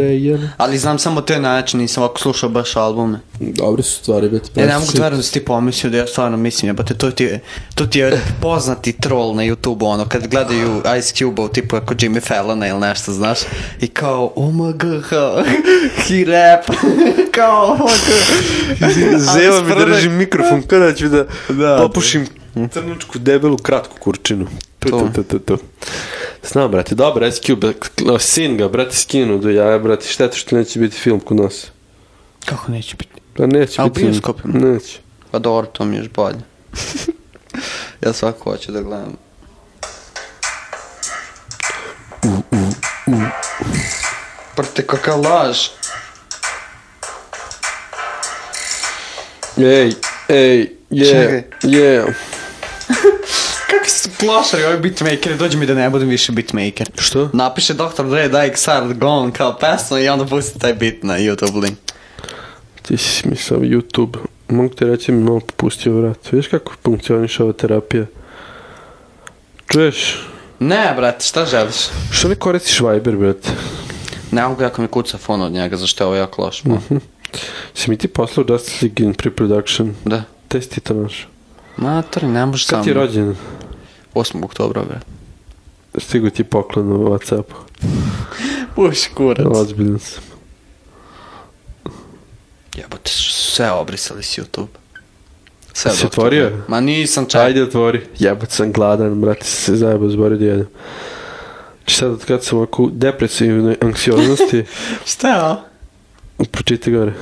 S1: Ali znam samo te načine, nisam ovako slušao baš albume. E,
S2: Dobre su stvari, bet.
S1: Ne, ne mogu stvarno da si ti pomislio da ja stvarno mislim, jebate, to ti je, to ti je poznati troll na YouTube, ono, kad gledaju Ice Cube-ov, tipu ako Jimmy Fallona ili nešto, znaš, i kao, oh my god, <laughs> kao, he rap, <laughs> kao, oh my god.
S2: Zeva
S1: Ali
S2: mi
S1: sprve-
S2: držim mikrofon <laughs> kada ću da,
S1: Da.
S2: popušim crnučku debelu kratku kurčinu. Tu,
S1: To.
S2: tu, tu, tu, tu. Znam, brate, dobro, Ice Cube, k- sin ga, brate, skinu do jaja, brate, šteta što neće biti film kod nas.
S1: Kako neće biti?
S2: Pa neće
S1: A u
S2: biti film.
S1: bioskopima?
S2: Neće.
S1: Pa dobro, to mi je još <laughs> bolje. ja svako hoću da gledam. Prte kakav laž.
S2: Ej, ej,
S1: Čekaj.
S2: je, je.
S1: Kako su klošari ovi beatmakeri, dođe mi da ne budem više beatmaker.
S2: Što?
S1: Napiše Dr. Dre, da XR Gone kao pesma i onda pusti taj beat na YouTube link.
S2: Ti si mi sam YouTube. Mogu ti reći mi malo popustio vrat. Viš kako funkcioniš ova terapija? Čuješ?
S1: Ne, brate, šta želiš?
S2: Što ne koristiš Viber, brate?
S1: Ne mogu kako mi kuca fon od njega, zašto je ovo jako loš. <laughs> Mm.
S2: Si mi ti poslao Justice League in pre-production?
S1: Da.
S2: Testi to naš.
S1: Matori, ne možeš sam.
S2: Kad ti je rođen?
S1: 8. oktobra, brate.
S2: Stigu ti poklon u Whatsappu.
S1: Uš, kurac.
S2: Ozbiljan sam.
S1: Jebote, sve obrisali s YouTube. Sve
S2: Si
S1: doktor.
S2: otvorio?
S1: Ma nisam čak.
S2: Ajde otvori. Jebat sam gladan, brate, se zajebao zborio da jedem. Znači sad od kad sam ovako u depresivnoj
S1: <laughs>
S2: anksioznosti,
S1: Šta je ovo?
S2: pročite gore.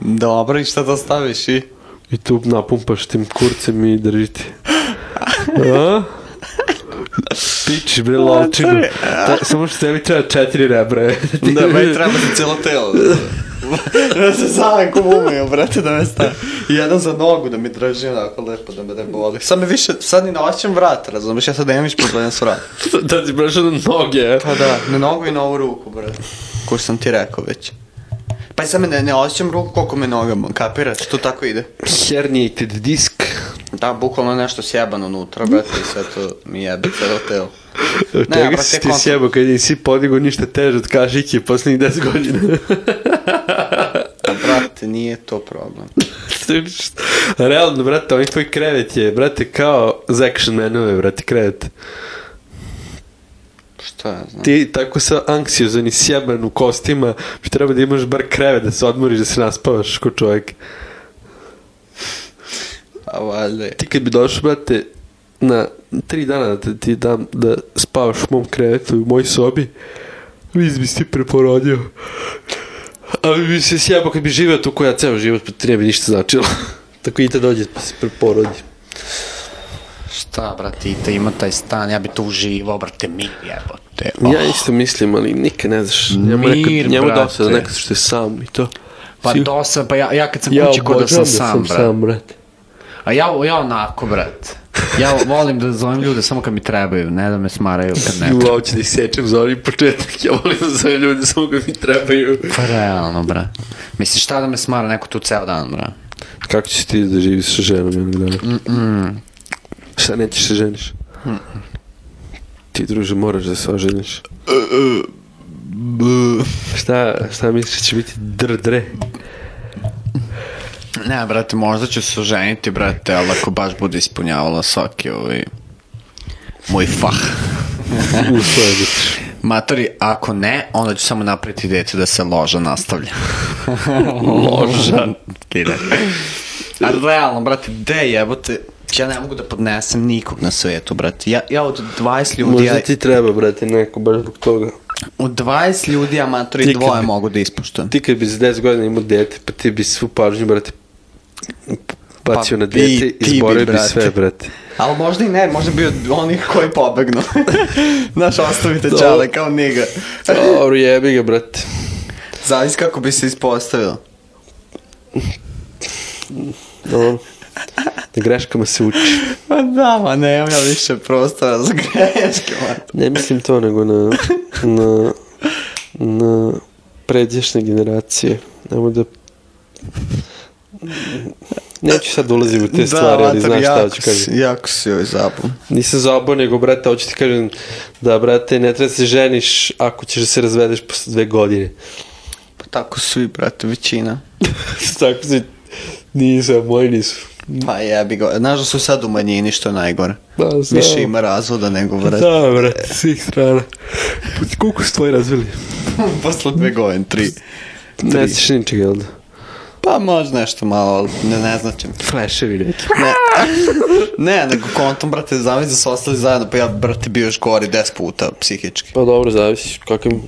S1: Dobro, i šta to staviš <laughs> i?
S2: I tu napumpaš tim kurcem i držite. A? Pičiš bre lovčinu. Ta, samo što tebi treba četiri rebra. je.
S1: Da, meni treba za cijelo telo. da se savem ko umio, brate, da me stavim. I Jedan za nogu da mi drži onako lepo, da me ne boli. Sad mi više, sad ni noćem vrat, razumiješ, ja sad nemam više problema s vratom.
S2: da ti brašao na noge.
S1: Pa da, na nogu i na ovu ruku, brate. Ko sam ti rekao već. Pa i sad me ne, ne osjećam ruku koliko me nogama, kapiraš, to tako ide.
S2: Herniated disk.
S1: Da, bukvalno nešto sjebano unutra, brate, i sve to mi jebe cijelo telo.
S2: Čega
S1: brate,
S2: si ti
S1: kontra.
S2: sjebao kad nisi podigao ništa teže od kašike posljednjih 10 godina? <laughs>
S1: A, brate, nije to problem.
S2: Realno, brate, ovaj tvoj krevet je, brate, kao za action manove, brate, krevet.
S1: Šta ja znam.
S2: Ti tako sa anksiozan i sjeban u kostima, bi treba da imaš bar krevet da se odmoriš, da se naspavaš ko čovjek.
S1: A valjda je.
S2: Ti kad bi došao, brate, na tri dana da te- ti dam da spavaš u mom krevetu, u mojoj sobi, viz bi si ti preporodio. Ali bi se sjebao kad bi živeo tu koja ceo život, pa ti ne bi ništa značilo. <laughs> tako i te dođe pa se preporodi.
S1: Šta, brate, Ita ima taj stan, ja bi tu uživao, brate, mi jebote.
S2: Oh. Ja isto mislim, ali nikad ne znaš. Njemu,
S1: Mir,
S2: nekad, njemu
S1: brate.
S2: dosta da nekad što je sam i to.
S1: Pa
S2: Si-
S1: dosa, pa ja, ja kad sam kući kod da sam
S2: obožavam
S1: sam,
S2: sam,
S1: brate.
S2: sam, brate.
S1: A ja, ja onako, brate. Ja volim da zovem ljude samo kad mi trebaju, ne da me smaraju kad ne.
S2: I u oči da ih sečem za onaj početak, ja volim da zovem ljudi samo kad mi trebaju.
S1: Pa realno, brate. Mislim, šta da me smara neko tu ceo dan, brate?
S2: е Kako ćeš ti da živiš sa ženom jednog dana? Šta, nećeš se ženiš? Ti, druže, moraš da se oženiš. Šta, šta misliš će biti drdre?
S1: Ne, brate, možda ću se oženiti, brate, ali ako baš bude ispunjavala svaki ovaj... Moj fah.
S2: Usvoje biti.
S1: Matori, ako ne, onda ću samo napraviti dete da se loža nastavlja.
S2: Loža.
S1: Kine. A realno, brate, de jebote, ja ne mogu da podnesem nikog na svetu, brate. Ja, ja od 20 ljudi, ja,
S2: Možda ti treba, brate, neko, baš zbog toga.
S1: od 20 ljudi amatori
S2: Ti kad
S1: dvoje
S2: bi-
S1: mogu da ispoštujem.
S2: Ti kad bi za 10 godina imao dete, pa ti bi svu pažnju, brate, bacio
S1: Pa
S2: na
S1: bi- ti
S2: dete i
S1: bi,
S2: zborio bi
S1: brate.
S2: sve, brate.
S1: Ali možda i ne, možda bi od onih koji <laughs> pobegnu. Znaš, ostavite
S2: To-
S1: čale kao niga.
S2: Dobro, jebi ga, brate.
S1: Zavis kako bi se ispostavilo.
S2: Dobro. Na greškama se uči.
S1: Ma Pa da, ma ne, ja više prostora <laughs> za greške, ma.
S2: Ne mislim to, nego na, na, na pređešne generacije. Nemo da... Neću sad ulazim u te stvari, ali znaš šta hoću kažem.
S1: jako si joj zabun.
S2: Nisam zabao, nego, brate, hoću ti kažem da, brate, ne treba se ženiš ako ćeš da se razvedeš posle dve godine. <laughs>
S1: Pa tako svi, brate, većina.
S2: Tako se... Nisam, moji nisu.
S1: Pa jebi ga, znaš da su sad u manjini što je najgore.
S2: Da, znam.
S1: Više ima razvoda nego vrat.
S2: Da, brate, svih strana. Koliko su tvoji razvili?
S1: Posle dve godine, tri.
S2: Ne sviš ničega, jel da?
S1: Pa možda nešto malo, ali ne, ne značim.
S2: Fleševi neki.
S1: Ne, ne nego kontom, brate, zamisli da su ostali zajedno, pa ja, brate, bio još gori des puta psihički.
S2: Pa dobro, zavisi kakvim...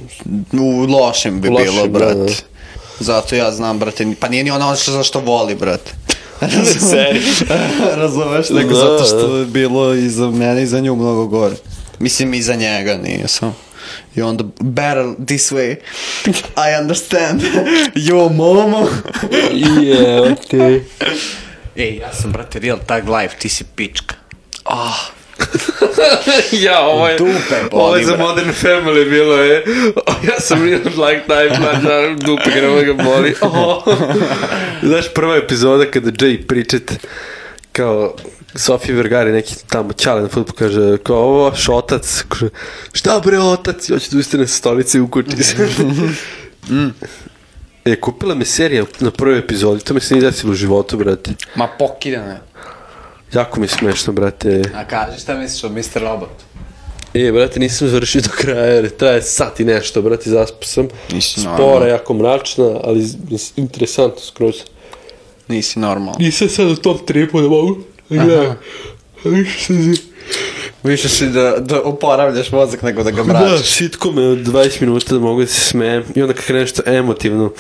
S1: U lošem bi
S2: Lošem,
S1: bilo,
S2: da,
S1: brate.
S2: da.
S1: Zato ja znam, brate, ni- pa nije ni ona ono što, zašto voli, <laughs> brate.
S2: Seri.
S1: <laughs> Razumeš, nego
S2: Da.
S1: zato što je bilo i za mene i za nju mnogo gore. Mislim i za njega nije samo. I onda, better this way, I understand, <laughs> yo momo. <laughs>
S2: Je, okej.
S1: Ej, ja sam, brate, real tag life, ti si pička. Ah,
S2: <laughs> ja, ovo je...
S1: Dupe boli,
S2: ovo je za
S1: brate.
S2: Modern Family bilo, je. O, ja sam real like time, pa da, dupe ga nema ga boli. O. Znaš, prva epizoda kada Jay pričat kao Sofija Vergara i neki tamo čale na futbol kaže kao ovo, š otac, kaže, šta bre otac, ja ću da ustane sa stolice i ukući se. E, kupila me serija na prvoj epizodi, to mi se nije desilo u životu, brate.
S1: ma pokidana je.
S2: Jako mi je smešno, brate.
S1: A kaži šta misliš o Mr. Robot?
S2: E, brate, nisam završio do kraja, jer traje sat i nešto, brate, zaspao sam.
S1: Nisi
S2: Spora,
S1: normalan.
S2: jako mračna, ali z- mislim, interesantno skroz.
S1: Nisi normalan.
S2: Nisam sad u tom tripu da mogu. Gledam. Više se zi...
S1: Više si da, da oporavljaš mozak nego da ga
S2: Da,
S1: mračiš.
S2: sitko me od 20 minuta da mogu da se smejem i onda kad krene nešto emotivno,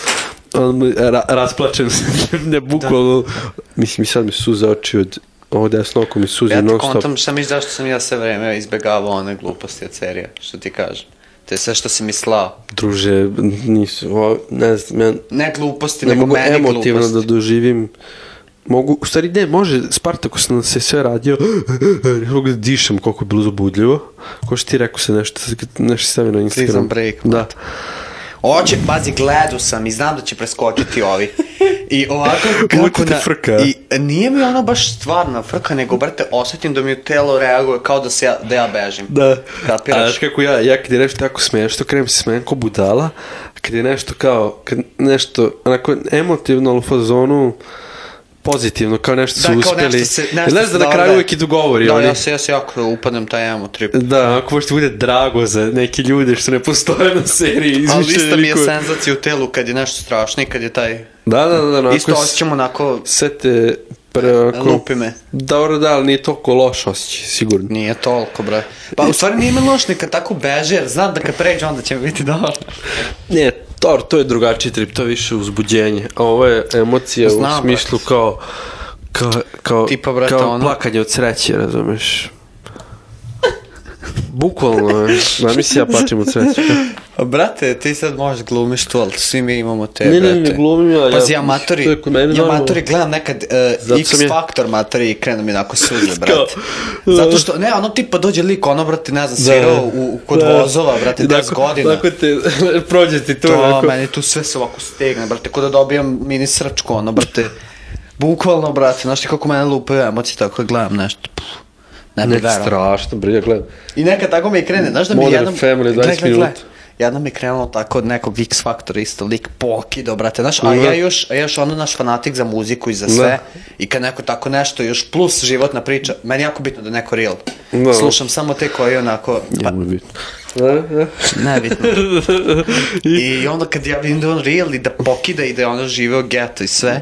S2: on, ra, rasplačem se, <laughs> ne bukvalno, mislim i sad mi suza oči od ovo desno oko mi suze
S1: Ja ti
S2: non stop.
S1: kontam šta misliš zašto sam ja sve vreme izbegavao one gluposti od serija, što ti kažem. To je sve što si mi slao.
S2: Druže, nisu, o, ne znam, ja
S1: Ne gluposti,
S2: ne
S1: nego
S2: mogu
S1: meni
S2: emotivno
S1: gluposti.
S2: da doživim Mogu, u stvari ne, može, Spartako sam se sve radio, ne mogu da dišem koliko je bilo zabudljivo. Ko što ti rekao se nešto, nešto si stavio na
S1: Prison
S2: Instagram.
S1: break,
S2: Da.
S1: Oće, pazi, gledu sam i znam da će preskočiti ovi. I
S2: <laughs>
S1: ovako
S2: Uvijek te frka.
S1: I nije mi ono baš stvarna frka, nego brate, osjetim da mi telo reaguje kao da, se ja, da ja bežim.
S2: Da.
S1: Kapiraš?
S2: A znaš kako ja, ja kad je nešto tako smešno, krenem se smejem ko budala, a kad je nešto kao, kad nešto, onako emotivno, ali u fazonu, pozitivno, kao nešto su
S1: kao
S2: uspjeli.
S1: nešto se- nešto
S2: Jer znaš
S1: se
S2: da na kraju
S1: događa.
S2: uvijek i dogovori.
S1: Da,
S2: oni-
S1: ja se, ja se jako upadnem taj emo trip.
S2: Da, ako možete bude drago za neke ljude što ne postoje na seriji.
S1: Ali
S2: izmišljene
S1: isto mi je
S2: likove.
S1: senzacija u telu kad je nešto strašno i kad je taj...
S2: Da, da, da, da onako
S1: Isto
S2: s-
S1: osjećam onako...
S2: Sve te pre, onako...
S1: Lupi me.
S2: Dobro, da, ali nije toliko loš osjećaj, sigurno.
S1: Nije toliko, bre. Pa u stvari nije me loš ni kad tako beže, jer znam da kad pređe onda će mi biti dobro.
S2: Ne, to, to je drugačiji trip, to je više uzbuđenje. A ovo je emocija
S1: Znam,
S2: u
S1: brate.
S2: smislu kao... Kao, kao,
S1: Tipa, brate,
S2: kao
S1: ono-
S2: plakanje od sreće, razumeš? Bukvalno, je. zamisli ja plačem od sreće.
S1: A Pa, brate, ti sad možeš glumiš to, ali svi mi imamo te,
S2: Ne, ne,
S1: brate.
S2: ne glumim ja,
S1: Pazi,
S2: ja-
S1: ja matori,
S2: E, to je kod mene
S1: ja
S2: normalno.
S1: matori gledam nekad uh,
S2: Zato
S1: X
S2: sam ja-
S1: faktor matori i krenu mi onako
S2: <laughs>
S1: suze,
S2: Kao,
S1: brate. Zato što, ne, ono tipa dođe lik, ono, brate, ne znam, svirao u, u- kod vozova, brate, 10 godina.
S2: Tako te, <laughs> prođe ti to,
S1: To,
S2: onako.
S1: meni tu sve se ovako stegne, brate, ko da dobijam mini srčko, ono, brate. Bukvalno, brate, znaš ti kako mene lupaju emocije, tako kad gledam nešto. Pff. Ne bi
S2: Nek
S1: verovao.
S2: strašno, bre, ja gledam.
S1: I neka tako mi krene, znaš da mi
S2: Modern
S1: jednom...
S2: Family, 20
S1: gle, gle, gle.
S2: minuta.
S1: Jednom mi krenulo tako od nekog X Factor isto lik pokido, brate, znaš, a ja još, a ja još ono naš fanatik za muziku i za sve,
S2: Da.
S1: i kad neko tako nešto, još plus životna priča, meni je jako bitno da je neko real.
S2: Da.
S1: Slušam samo te koji onako, pa,
S2: Njemu je bitno. Da, da. <laughs>
S1: nebitno. I onda kad ja vidim da je on real i da pokida i da je ono živeo geto i sve,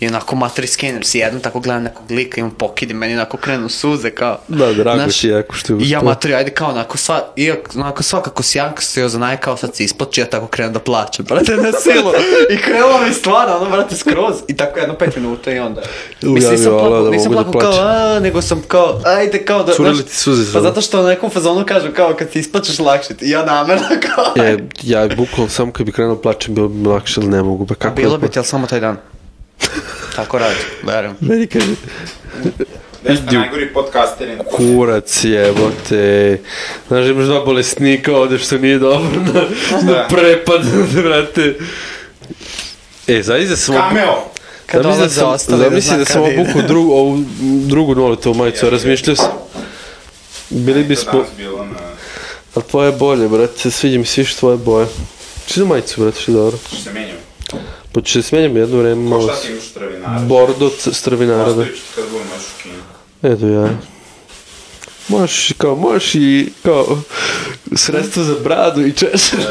S1: i onako matri skener si jednom tako gledam nekog lika i on pokidi, meni onako krenu suze kao...
S2: Da, drago
S1: znaš,
S2: ti je jako što je
S1: I ja
S2: uspeo.
S1: matri, ajde kao onako, sva, i onako svakako si janka se joj zanaje kao sad si isplači, ja tako krenem da plaćem, brate, na silu. I krenulo mi stvarno, ono, brate, skroz. I tako jedno pet minuta i onda...
S2: Ja
S1: Mislim,
S2: bi
S1: nisam
S2: volao
S1: plakao,
S2: da
S1: nisam
S2: mogu da
S1: plakao kao, a, nego sam kao, ajde kao da...
S2: Curili
S1: znaš,
S2: ti suze
S1: Pa
S2: sada.
S1: zato što Então na nekom fazonu kažu kao kad se isplačeš lakše ti, ja namerno kao...
S2: E, ja bukvalno samo kad bi krenuo plaćem bilo bi mi lakše, ali ne mogu. Pa kako
S1: Bilo
S2: da
S1: bi ti, ali samo taj dan. Tako radi, verujem.
S2: Meni kaže,
S3: Da ste najgori podcasteri.
S2: kurac jebote. Znaš, imaš dva bolesnika ovde što nije dobro na, na
S3: Da.
S2: prepad, <laughs> brate. E, zavisli da smo...
S3: Cameo!
S1: Kad
S2: zamisli da
S1: dolaze
S2: sam,
S1: ostali,
S2: zamisli
S1: ne znam
S2: da sam
S1: kad ide.
S2: obukao drugu, ovu drugu noletovu majicu, razmišljao sam. Bili
S3: To
S2: bismo...
S3: danas bilo na...
S2: A tvoje bolje, brate, sviđa mi se više tvoje boje. Čini majicu, brate, što je dobro.
S3: Što se menjamo.
S2: Pa ću se smenjam jedno vreme,
S1: Pa
S3: Ko
S2: malo
S3: šta
S2: s-
S3: ti imaš travinara?
S2: Bordo c- strvinara, da.
S3: Ostaviću ti kad budem još u kinu.
S2: Eto ja. Možeš, kao, možeš i, kao, sredstvo za bradu i češer.
S3: I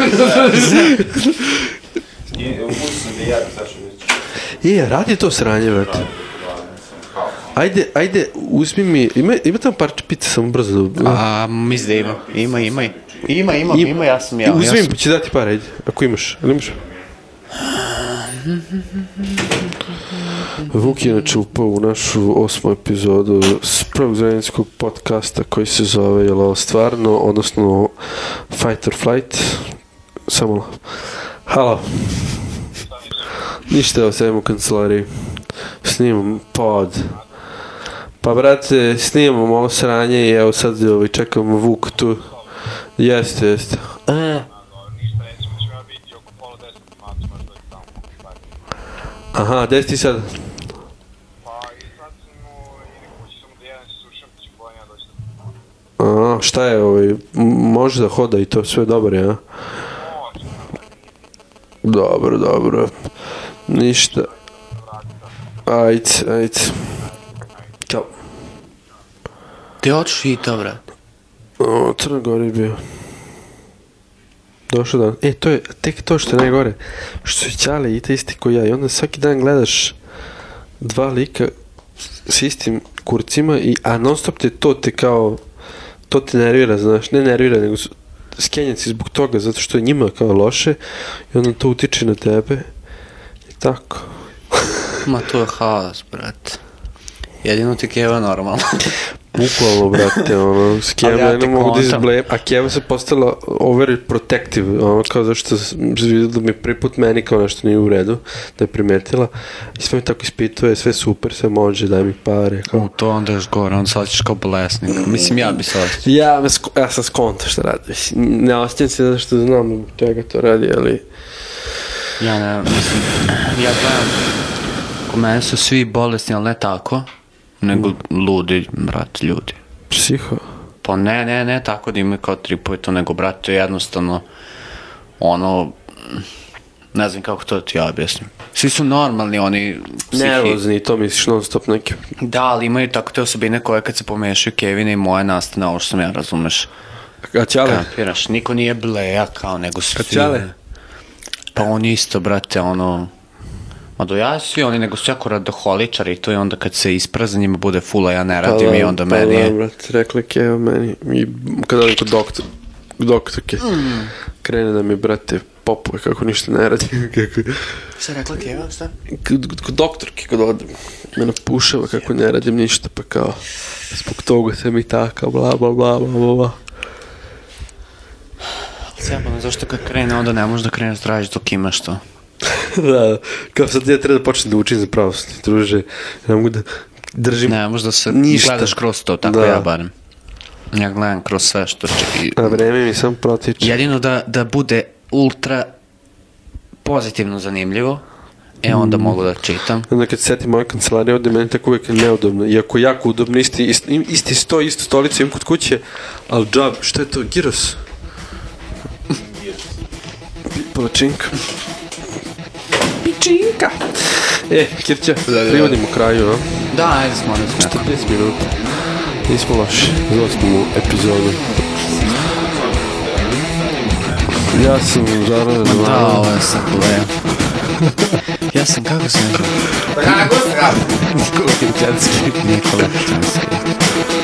S3: upuću sam da jedem, sad ću vidjeti.
S2: <laughs> je, radi to sranje, brate. Ajde, ajde, uzmi mi, ima, ima tamo parče pite, samo brzo da...
S1: A, mislim da ima. Ima, ima. i- Ima, ima,
S2: Ima.
S1: ima, ja sam
S2: I
S1: ja.
S2: uzmi
S1: ja
S2: mi,
S1: sam-
S2: pa ću dati par, ajde, ako imaš, ali imaš? Vuk je inače upao u našu osmu epizodu s prvog zajedničkog podcasta koji se zove Jel ovo stvarno, odnosno Fight or Flight. Samo malo. Halo. Ništa, evo sedim u kancelariji. Snimam pod. Pa brate, snimam ovo sranje i evo sad ovaj, čekam Vuk tu. Jeste, jeste. E, Aha, gde si ti sad? A, šta je ovaj, m- može da hoda i to sve dobro, ja? Dobro, dobro. Ništa. Ajde, ajde. Ćao.
S1: Ti hoćeš i to, brate.
S2: O, Crna Gora je bio. Došao dan. E, to je tek to što je najgore. Što je Ćale i te isti ko ja. I onda svaki dan gledaš dva lika s istim kurcima, i, a non stop te to te kao... To te nervira, znaš. Ne nervira, nego su- skenjan si zbog toga, zato što je njima kao loše. I onda to utiče na tebe. I tako.
S1: Ma to je haos, brate. Jedino ti Keva normalno.
S2: Bukvalno, brate, ono, s Kevom
S1: Ali ja
S2: ja ne
S1: te
S2: mogu da
S1: kontam.
S2: izblem, a Keva se postala overprotective, ono, kao zašto sam vidio da mi je prvi put meni kao nešto nije u redu, da je primetila, i sve mi tako ispituje, sve super, sve može, daj mi pare, kao...
S1: <laughs> U to onda još gore, onda se osjećaš kao bolesnik. Mislim, ja bi se osjećao.
S2: Ja, me sko ja sam skonto što radi, mislim, ne osjećam se zato što znam zbog čega to radi, ali...
S1: Ja ne, mislim, ja gledam, kod mene su svi bolesni, ali ne tako, nego ludi, brat, ljudi.
S2: Psiho.
S1: Pa ne, ne, ne, tako da imaju kao tripuje to, nego, brate, to je jednostavno, ono, ne znam kako to da ti ja objasnim. Svi su normalni, oni psihi-
S2: Nervozni, to misliš non stop neki.
S1: Da, ali imaju tako te osobine koje kad se pomešaju Kevina i moje nastane, ovo što sam ja, razumeš.
S2: A Ćale?
S1: Kapiraš, niko nije bleja kao, nego su svi...
S2: Ćale?
S1: Pa on isto, brate, ono... Ma do ja svi oni, nego su jako radoholičari i to je onda kad se isprazan njima bude fula, ja ne radim i onda meni
S2: Pa
S1: je...
S2: da, brate, rekla je Keva meni. I kada je kod doktor, doktorke,
S1: Mm.
S2: krene da mi, brate, popuje kako ništa ne radi. kako,
S1: Šta je rekla Keva, šta?
S2: kod, kod doktorke kad odem, me napušava kako ne radim ništa, pa kao, zbog toga sam i taka, bla, bla, bla, bla, bla, <laughs> bla.
S1: Sjebano, zašto kad krene, onda ne možeš da kreneš da radiš dok imaš to.
S2: da, kao sad ja treba da počnem da učim za pravoslavni, druže, ne mogu da držim
S1: Ne možeš da se
S2: Ništa.
S1: gledaš kroz to, tako
S2: Da.
S1: ja barem. Ja gledam kroz sve što čeki.
S2: A vreme mi samo protiče.
S1: Jedino da, da bude ultra pozitivno zanimljivo
S4: E, onda mogu da čitam.
S2: Onda kad se setim moje kancelarije ovdje, meni tako uvijek neudobno. Iako jako udobno, isti, isti, isti sto, istu stolicu imam kod kuće, ali džab, šta je to, giros? Palačinka. Pičinka. E, Kirća, privodimo kraju, a?
S4: Da, ajde smo, ne smo.
S2: 40 minuta. Nismo loši za osmu epizodu. Ja sam Žara
S4: Da,
S2: Radovanović.
S4: ovo je sad problem. ja sam, kako sam rekao?
S5: Kako se radi?
S2: Kirćanski.
S4: Nikola Petanski.